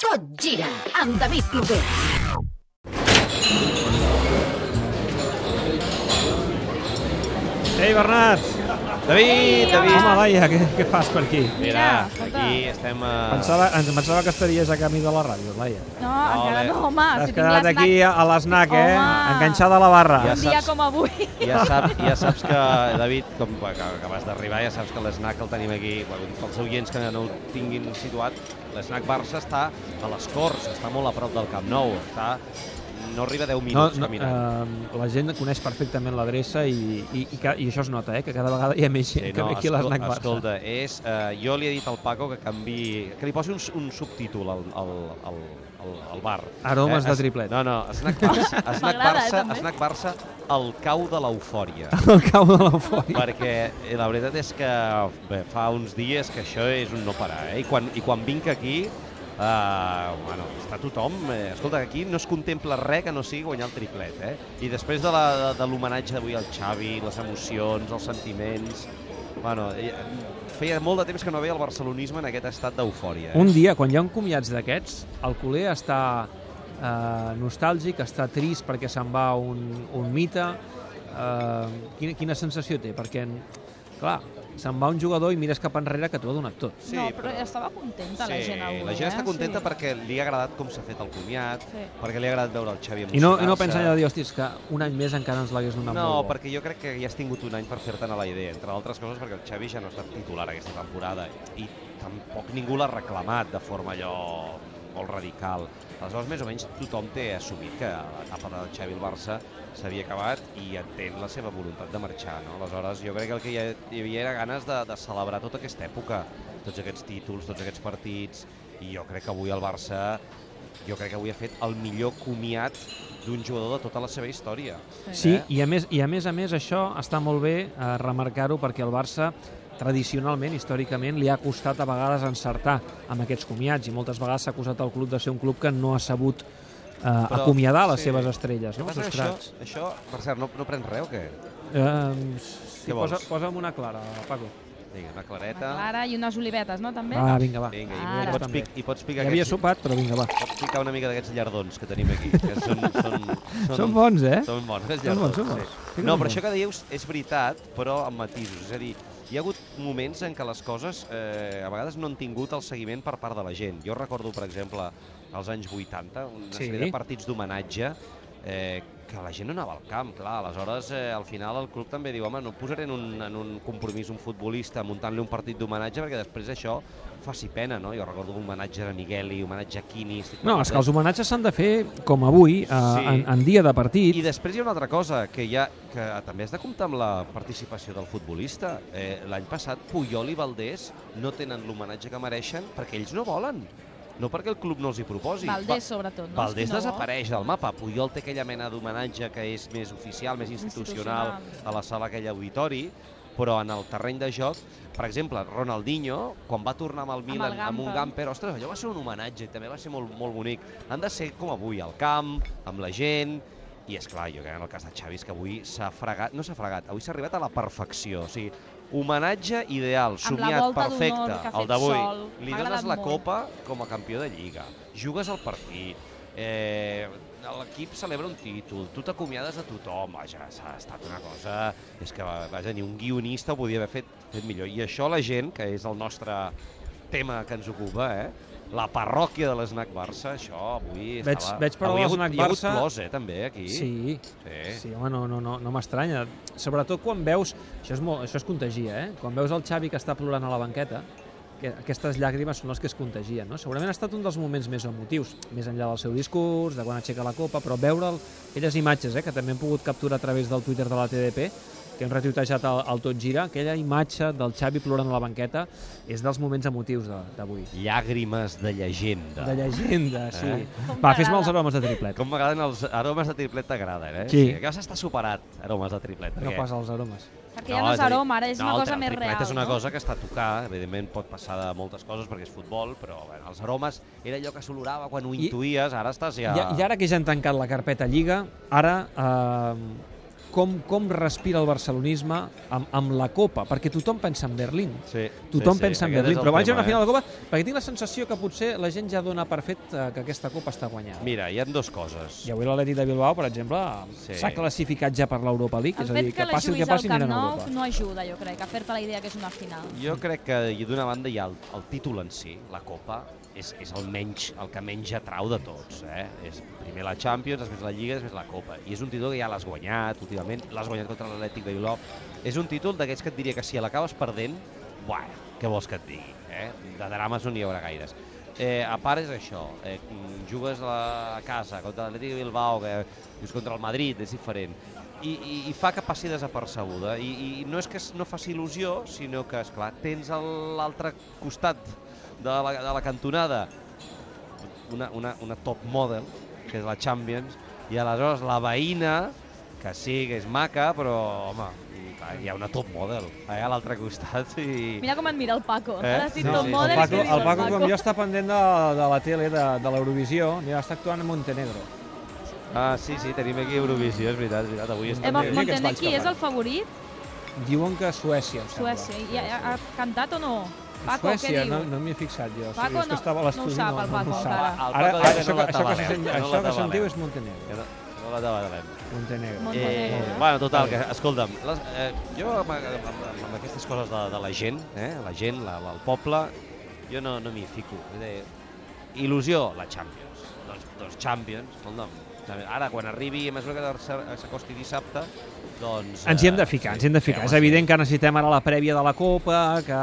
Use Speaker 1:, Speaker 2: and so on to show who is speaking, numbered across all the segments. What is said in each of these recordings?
Speaker 1: Tot gira amb David Cloquer.
Speaker 2: Ei, Bernat!
Speaker 3: David, David!
Speaker 2: Home, Laia, què, què fas per aquí?
Speaker 3: Mira, aquí estem eh, a...
Speaker 2: Pensava, ens pensava que estaries a camí de la ràdio, Laia.
Speaker 4: No, encara
Speaker 3: bé.
Speaker 4: no, home.
Speaker 2: T'has
Speaker 4: si Ah, tinc
Speaker 2: quedat
Speaker 4: l'esnac
Speaker 2: aquí a l'esnac, eh?
Speaker 4: Home.
Speaker 2: Enganxada a la barra.
Speaker 3: Ja
Speaker 4: Un dia
Speaker 3: saps.
Speaker 4: com avui.
Speaker 3: Ja saps, ja saps que, David, com que, que acabes d'arribar, ja saps que l'esnac el tenim aquí, bueno, pels oients que no ho tinguin situat, l'esnac Barça està a les Corts, està molt a prop del Camp Nou, està no arriba a 10
Speaker 2: No,
Speaker 3: minuts
Speaker 2: no,
Speaker 3: caminant.
Speaker 2: eh, la gent coneix perfectament l'adreça i, i, i, ca- i això es nota, eh? que cada vegada hi ha més gent que ve aquí a
Speaker 3: escol-
Speaker 2: l'esnac Barça.
Speaker 3: escolta, és, eh, jo li he dit al Paco que canvi, que li posi un, s- un subtítol al, al, al, al, al bar. Eh,
Speaker 2: Aromes de
Speaker 3: es-
Speaker 2: triplet.
Speaker 3: No, no, Snack Barça, snack
Speaker 4: M'agrada, eh,
Speaker 3: Barça,
Speaker 4: també.
Speaker 3: snack Barça, el cau de l'eufòria.
Speaker 2: El cau de l'eufòria.
Speaker 3: perquè eh, la veritat és que bé, fa uns dies que això és un no parar, eh? I quan, i quan vinc aquí, eh, bueno, està tothom... Eh, escolta, que aquí no es contempla res que no sigui guanyar el triplet, eh? I després de la- de de l'homenatge d'avui al Xavi, les emocions, els sentiments... Bueno, eh, feia molt de temps que no veia el barcelonisme en aquest estat d'eufòria. Eh?
Speaker 2: Un dia, quan hi ha un comiats d'aquests, el culer està eh, nostàlgic, està trist perquè se'n va un, un mite. Eh, quina, quina sensació té? Perquè, clar, se'n va un jugador i mires cap enrere que t'ho ha donat tot.
Speaker 3: Sí,
Speaker 4: no, però,
Speaker 3: però-
Speaker 4: estava contenta la gent avui.
Speaker 3: la gent està
Speaker 4: eh?
Speaker 3: contenta
Speaker 4: sí.
Speaker 3: perquè li ha agradat com s'ha fet el comiat,
Speaker 4: Sí.
Speaker 3: perquè li ha agradat veure el Xavi
Speaker 2: I no, i no
Speaker 3: emocionar-se.
Speaker 2: pensa allà de dir, hòstia, és que un any més encara ens l'hagués donat
Speaker 3: No,
Speaker 2: molt bo.
Speaker 3: perquè jo crec que ja has tingut un any per fer-te'n a la idea, entre altres coses perquè el Xavi ja no ha estat titular aquesta temporada i tampoc ningú l'ha reclamat de forma allò molt radical. Aleshores, més o menys, tothom té assumit que l'etapa del Xavi al Barça s'havia acabat i entén la seva voluntat de marxar. No? Aleshores, jo crec que el que hi ha- hi havia era ganes de, de celebrar tota aquesta època, tots aquests títols, tots aquests partits, i jo crec que avui el Barça jo crec que avui ha fet el millor comiat d'un jugador de tota la seva història.
Speaker 2: Sí,
Speaker 3: Eh?
Speaker 2: i a, més, i a més a més això està molt bé eh, remarcar-ho perquè el Barça tradicionalment, històricament, li ha costat a vegades encertar amb aquests comiats i moltes vegades s'ha acusat al club de ser un club que no ha sabut eh, acomiadar les
Speaker 3: sí.
Speaker 2: seves estrelles, no?
Speaker 3: Què
Speaker 2: els
Speaker 3: passa
Speaker 2: seus
Speaker 3: que
Speaker 2: cracs.
Speaker 3: això, això, per cert, no, no prens res o què?
Speaker 2: Eh, sí,
Speaker 3: Què vols?
Speaker 2: posa, posa'm una clara, Paco.
Speaker 3: Vinga, una
Speaker 4: Una
Speaker 3: clareta.
Speaker 4: clara i unes olivetes, no, també?
Speaker 2: Va, vinga, va.
Speaker 3: Vinga, i,
Speaker 4: Ara.
Speaker 3: i, pots pic, i pots
Speaker 2: Ja
Speaker 3: picar
Speaker 2: havia
Speaker 3: aquests,
Speaker 2: sopat, però vinga, va.
Speaker 3: pots picar una mica d'aquests llardons que tenim aquí, que són, són, són,
Speaker 2: Són bons, eh?
Speaker 3: Són bons, aquests
Speaker 2: Són bons,
Speaker 3: llardons.
Speaker 2: són bons.
Speaker 3: Sí. No, però això que dius és veritat, però amb matisos. És a dir, hi ha hagut moments en què les coses eh, a vegades no han tingut el seguiment per part de la gent. Jo recordo, per exemple, als anys 80, una
Speaker 2: Sí.
Speaker 3: sí. sèrie de partits d'homenatge eh, que la gent no anava al camp, clar. Aleshores, eh, al final, el club també diu home, no posaré en un, en un compromís un futbolista muntant-li un partit d'homenatge perquè després això faci pena, no? Jo recordo homenatges a Migueli, homenatge a Quini... estic
Speaker 2: No, és que
Speaker 3: parlant
Speaker 2: els homenatges s'han de fer com avui, eh,
Speaker 3: Sí.
Speaker 2: en, en dia de partit.
Speaker 3: I després hi ha una altra cosa, que, hi ha, que també has de comptar amb la participació del futbolista. Eh, L'any passat Puyol i Valdés no tenen l'homenatge que mereixen perquè ells no volen, no perquè el club no els hi proposi.
Speaker 4: Valdés, sobretot. No?
Speaker 3: Va Valdés
Speaker 4: no
Speaker 3: desapareix del mapa. Puyol té aquella mena d'homenatge que és més oficial, més institucional,
Speaker 4: Institucional.
Speaker 3: a la sala aquell auditori, però en el terreny de joc, per exemple, Ronaldinho, quan va tornar amb el Milan,
Speaker 4: el
Speaker 3: amb, amb un
Speaker 4: Gamper.
Speaker 3: Gamper, ostres, allò va ser un homenatge i també va ser molt, molt bonic. Han de ser com avui, al camp, amb la gent, i és clar, jo crec que en el cas de Xavi és que avui s'ha fregat, no s'ha fregat, avui s'ha arribat a la perfecció, o sigui, homenatge ideal,
Speaker 4: Amb la
Speaker 3: somiat,
Speaker 4: volta d'honor
Speaker 3: perfecte,
Speaker 4: que ha
Speaker 3: el
Speaker 4: fet
Speaker 3: d'avui.
Speaker 4: Sol.
Speaker 3: Li
Speaker 4: M'ha
Speaker 3: dones
Speaker 4: agradat
Speaker 3: la
Speaker 4: molt.
Speaker 3: copa com a campió de Lliga, jugues al partit, eh, l'equip celebra un títol, tu t'acomiades de tothom, vaja, s'ha estat una cosa... És que, vaja, ni un guionista ho podia haver fet, fet millor. I això la gent, que és el nostre tema que ens ocupa, eh? La parròquia de l'Snac Barça, això avui...
Speaker 2: Veig-
Speaker 3: estava...
Speaker 2: veig, però,
Speaker 3: avui hi ha hagut,
Speaker 2: l'Snac
Speaker 3: hi ha hagut
Speaker 2: Barça-
Speaker 3: plors, eh, també, aquí.
Speaker 2: Sí,
Speaker 3: sí.
Speaker 2: Sí, home, no, no, no, no m'estranya. Sobretot quan veus... Això és, molt, això es contagia, eh? Quan veus el Xavi que està plorant a la banqueta, que aquestes llàgrimes són les que es contagien, no? Segurament ha estat un dels moments més emotius, més enllà del seu discurs, de quan aixeca la copa, però veure'l, aquelles imatges, eh, que també hem pogut capturar a través del Twitter de la TDP, que hem retuitejat al, al Tot Gira, aquella imatge del Xavi plorant a la banqueta és dels moments emotius de- d'avui.
Speaker 3: Llàgrimes de llegenda.
Speaker 2: De llegenda, sí.
Speaker 3: Eh?
Speaker 2: Va, fes-me els aromes de triplet.
Speaker 3: Com m'agraden els aromes de triplet t'agraden, eh?
Speaker 2: Sí.
Speaker 3: Que ja s'està superat, aromes de triplet.
Speaker 2: No pas els aromes.
Speaker 4: Perquè ja no és
Speaker 3: a dir,
Speaker 4: aroma, ara és
Speaker 3: no,
Speaker 4: una
Speaker 3: el
Speaker 4: cosa
Speaker 3: tri-
Speaker 4: més
Speaker 3: El
Speaker 4: real.
Speaker 3: triplet és una
Speaker 4: no?
Speaker 3: cosa que està a tocar, evidentment pot passar de moltes coses perquè és futbol, però bueno, els aromes era allò que s'olorava quan ho
Speaker 2: I-
Speaker 3: intuïes, ara estàs ja...
Speaker 2: I, I ara que ja han tancat la carpeta Lliga, ara eh, com, com respira el barcelonisme amb, amb la Copa, perquè tothom pensa en Berlín.
Speaker 3: Sí,
Speaker 2: Tothom pensa en
Speaker 3: aquest és
Speaker 2: Berlín,
Speaker 3: el
Speaker 2: però vaig a
Speaker 3: tema,
Speaker 2: una final de Copa perquè tinc la sensació que potser la gent ja dona per fet eh, que aquesta Copa està guanyada.
Speaker 3: Eh? Mira, hi ha dues coses.
Speaker 2: I avui l'Atlètic de Bilbao, per exemple,
Speaker 3: Sí.
Speaker 2: s'ha classificat ja per l'Europa League,
Speaker 4: El
Speaker 2: és a dir,
Speaker 4: fet que
Speaker 2: que
Speaker 4: la
Speaker 2: passi el que
Speaker 4: juguis al
Speaker 2: passi
Speaker 4: Camp
Speaker 2: aniran a
Speaker 4: Nou
Speaker 2: Europa.
Speaker 4: no ajuda, jo crec, a fer-te la idea que és una final.
Speaker 3: Jo crec que i d'una banda hi ha el, el títol en si, la Copa, és, és el menys el que menys atrau de tots. Eh? És primer la Champions, després la Lliga, després la Copa. I és un títol que ja l'has guanyat últimament, l'has guanyat contra l'Atlètic de Bilbao. És un títol d'aquests que et diria que si l'acabes perdent, bueno, què vols que et digui? Eh? De drames no n'hi haurà gaires. Eh, a part és això, eh, mm, jugues a la- a casa contra l'Atlètic de Bilbao, que dius contra el Madrid, és diferent. I, i, i fa que passi desapercebuda. I, i no és que es- no faci il·lusió, sinó que, esclar, tens a l'altre costat de la, de la cantonada una, una, una top model, que és la Champions, i aleshores la veïna, que sí, que és maca, però, home, clar, hi ha una top model allà a l'altre costat i...
Speaker 4: Mira com et mira el Paco.
Speaker 3: Eh?
Speaker 4: Eh? Ara has dit
Speaker 3: Sí,
Speaker 4: no,
Speaker 3: sí.
Speaker 4: sí,
Speaker 2: el
Speaker 4: model
Speaker 2: Paco,
Speaker 4: i
Speaker 2: el Paco com jo està pendent de, de la tele, de, de l'Eurovisió, mira, està actuant a Montenegro.
Speaker 3: Ah, sí, sí, tenim aquí Eurovisió, és veritat, és veritat, avui
Speaker 2: Eh,
Speaker 3: estem...
Speaker 2: Mon-
Speaker 3: bé.
Speaker 2: Mon- que ens vaig
Speaker 4: Montenegro, qui és
Speaker 2: escapar.
Speaker 4: el favorit?
Speaker 2: Diuen que Suècia, em sembla.
Speaker 4: Suècia. I ha, ha cantat o no? Paco,
Speaker 2: Suècia,
Speaker 4: què
Speaker 2: no,
Speaker 4: diu?
Speaker 2: no m'hi he fixat jo.
Speaker 4: Paco
Speaker 2: o sigui, és que
Speaker 4: no-
Speaker 2: estava a
Speaker 4: no ho
Speaker 2: l'estudi,
Speaker 4: sap, el Paco,
Speaker 2: no, ho sap.
Speaker 4: encara.
Speaker 3: El Paco
Speaker 2: Ara,
Speaker 3: deia
Speaker 2: ara, això,
Speaker 3: no la
Speaker 2: que- això, que, se
Speaker 3: tabalem,
Speaker 2: sent,
Speaker 3: no la
Speaker 2: això que
Speaker 3: tabalem.
Speaker 2: sentiu és Montenegro.
Speaker 3: No, no la debatarem.
Speaker 2: Montenegro.
Speaker 4: Mon-
Speaker 3: Eh,
Speaker 4: Montenegro.
Speaker 3: bueno, total, que, escolta'm, les, eh, jo amb, amb, amb, amb aquestes coses de, de la gent, eh, la gent, la, la, el poble, jo no, no m'hi fico. És a dir, il·lusió, la Champions. Doncs, doncs Champions, escolta'm. Champions. Ara, quan arribi, a mesura que s'ar- s'acosti dissabte, doncs...
Speaker 2: Ens hi hem
Speaker 3: eh,
Speaker 2: de ficar,
Speaker 3: sí,
Speaker 2: ens hi hem de ficar.
Speaker 3: home,
Speaker 2: És evident que necessitem ara la prèvia de la Copa, que,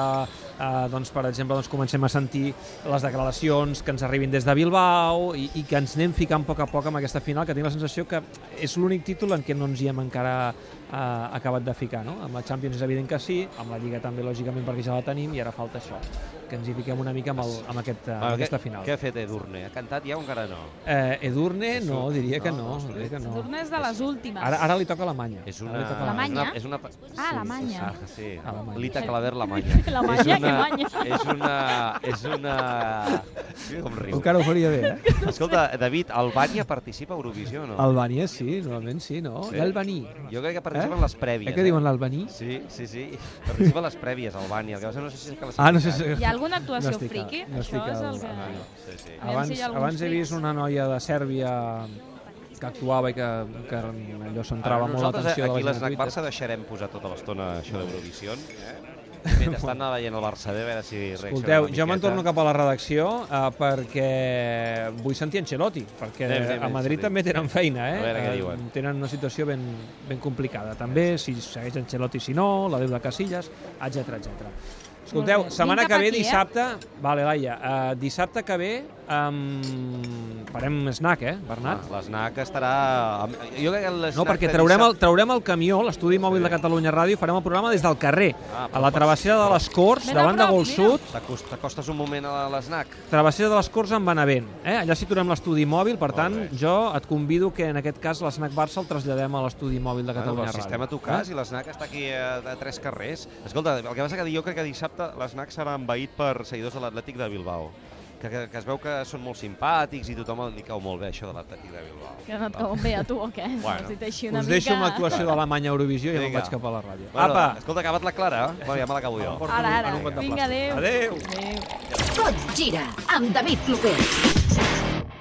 Speaker 2: eh, doncs, per exemple, doncs, comencem a sentir les declaracions que ens arribin des de Bilbao i, i que ens anem ficant a poc a poc amb aquesta final, que tinc la sensació que és l'únic títol en què no ens hi hem encara eh, acabat de ficar. No? Amb la Champions és evident que sí, amb la Lliga també, lògicament, perquè ja la tenim, i ara falta això, que ens hi fiquem una mica amb, el, amb, aquest, eh, amb
Speaker 3: Bueno,
Speaker 2: aquesta
Speaker 3: què-
Speaker 2: final.
Speaker 3: Què ha fet Edurne? Ha cantat ja o encara no?
Speaker 2: Eh, Edurne,
Speaker 3: És
Speaker 2: no,
Speaker 3: un-
Speaker 2: diria que
Speaker 3: no,
Speaker 2: no.
Speaker 3: no,
Speaker 2: diria que no.
Speaker 4: Tornes de les últimes.
Speaker 2: Ara, ara li toca a Alemanya.
Speaker 3: És
Speaker 2: Ara
Speaker 3: una...
Speaker 2: li toca a
Speaker 1: Alemanya.
Speaker 3: És una, és una...
Speaker 4: Ah, Alemanya.
Speaker 3: Ah, sí.
Speaker 2: Alemanya.
Speaker 3: Lita Claver, la manya.
Speaker 4: La manya,
Speaker 3: és
Speaker 4: que
Speaker 3: una,
Speaker 4: manya.
Speaker 3: És una... És una... Mira com riu.
Speaker 2: Encara ho faria bé, eh?
Speaker 3: Escolta, David, Albània participa a Eurovisió o no?
Speaker 2: Albània eh, sí, normalment sí, no?
Speaker 3: Sí.
Speaker 2: I Albaní.
Speaker 3: Jo crec que participa
Speaker 2: Eh?
Speaker 3: en les prèvies.
Speaker 2: Eh, què diuen l'Albaní?
Speaker 3: Sí, sí, sí. Participa a les prèvies, Albània. El que passa no sé si és que la
Speaker 2: Ah, no sé si...
Speaker 4: Hi ha alguna actuació
Speaker 2: No estic al-
Speaker 4: friki?
Speaker 2: no
Speaker 4: Això
Speaker 2: estic
Speaker 4: és
Speaker 2: al-
Speaker 4: el que...
Speaker 2: al-
Speaker 3: Sí, sí.
Speaker 4: Ah.
Speaker 2: Abans,
Speaker 4: si hi ha alguns
Speaker 2: abans he vist
Speaker 4: clics.
Speaker 2: una noia de Sèrbia que actuava i que, que allò centrava molt
Speaker 3: nosaltres eh,
Speaker 2: l'atenció de
Speaker 3: aquí
Speaker 2: la
Speaker 3: a
Speaker 2: gent
Speaker 3: l'Snac
Speaker 2: a Twitter.
Speaker 3: Barça deixarem posar tota l'estona això d'Eurovisió. Eh? Mentre estan veient el Barça bé, a veure si reacciona
Speaker 2: Escolteu,
Speaker 3: una
Speaker 2: jo me'n
Speaker 3: miqueta.
Speaker 2: torno cap a la redacció eh, perquè vull sentir Ancelotti, perquè
Speaker 3: Anem, anem,
Speaker 2: a Madrid
Speaker 3: Ancelotti.
Speaker 2: també tenen feina, eh?
Speaker 3: A veure què
Speaker 2: Eh,
Speaker 3: diuen.
Speaker 2: Tenen una situació ben, ben complicada. També, si segueix Ancelotti, si no, la deuda Casillas, etc etc. Escolteu,
Speaker 4: Molt bé.
Speaker 2: setmana
Speaker 4: Vinc
Speaker 2: que
Speaker 4: cap
Speaker 2: ve,
Speaker 4: aquí, eh?
Speaker 2: dissabte... Vale, Laia, eh, dissabte que ve um, farem snack, eh, Bernat?
Speaker 3: Ah, L'Snac estarà... amb- Jo crec que l'Snac...
Speaker 2: No, perquè
Speaker 3: de
Speaker 2: traurem el,
Speaker 3: dissabte-
Speaker 2: traurem el camió, l'estudi mòbil de Catalunya Ràdio, farem el programa des del carrer,
Speaker 3: Ah,
Speaker 2: a la travessera de les Corts,
Speaker 4: Ben a
Speaker 2: davant de
Speaker 4: prop,
Speaker 2: Gol
Speaker 4: mira.
Speaker 2: Sud,
Speaker 3: T'acost- T'acostes un moment a l'Snac?
Speaker 2: Travessera de les Corts amb Benavent. Eh? Allà situarem l'estudi mòbil, per
Speaker 3: Molt
Speaker 2: tant,
Speaker 3: bé.
Speaker 2: jo et convido que en aquest cas l'Snac Barça el traslladem a l'estudi mòbil de
Speaker 3: Bueno,
Speaker 2: Catalunya
Speaker 3: el
Speaker 2: Ràdio. Eh?
Speaker 3: sistema a tu cas i l'Snac està aquí a, a tres carrers. Escolta, el que passa que jo crec que dissabte l'Snac serà envaït per seguidors de l'Atlètic de Bilbao. Que, que, que es veu que són molt simpàtics i tothom li cau molt bé això de l'Atlètic de Bilbao.
Speaker 4: Que no et cau bé a tu o què?
Speaker 3: Bueno.
Speaker 4: Bueno, si t'així una
Speaker 2: Us deixo amb
Speaker 4: mica...
Speaker 2: l'actuació d'Alemanya a Eurovisió i ja me'n
Speaker 3: Vinga.
Speaker 2: vaig cap a la ràdio.
Speaker 3: Bueno,
Speaker 2: Apa!
Speaker 3: Escolta, ha acabat la Clara. Bueno, ja me l'acabo jo.
Speaker 2: Em porto
Speaker 4: Ara,
Speaker 2: en
Speaker 4: ara.
Speaker 2: un got de
Speaker 4: Vinga,
Speaker 2: plàstic.
Speaker 4: adéu.
Speaker 2: Adéu!
Speaker 4: Adéu.
Speaker 1: Tot gira amb David Cloquer.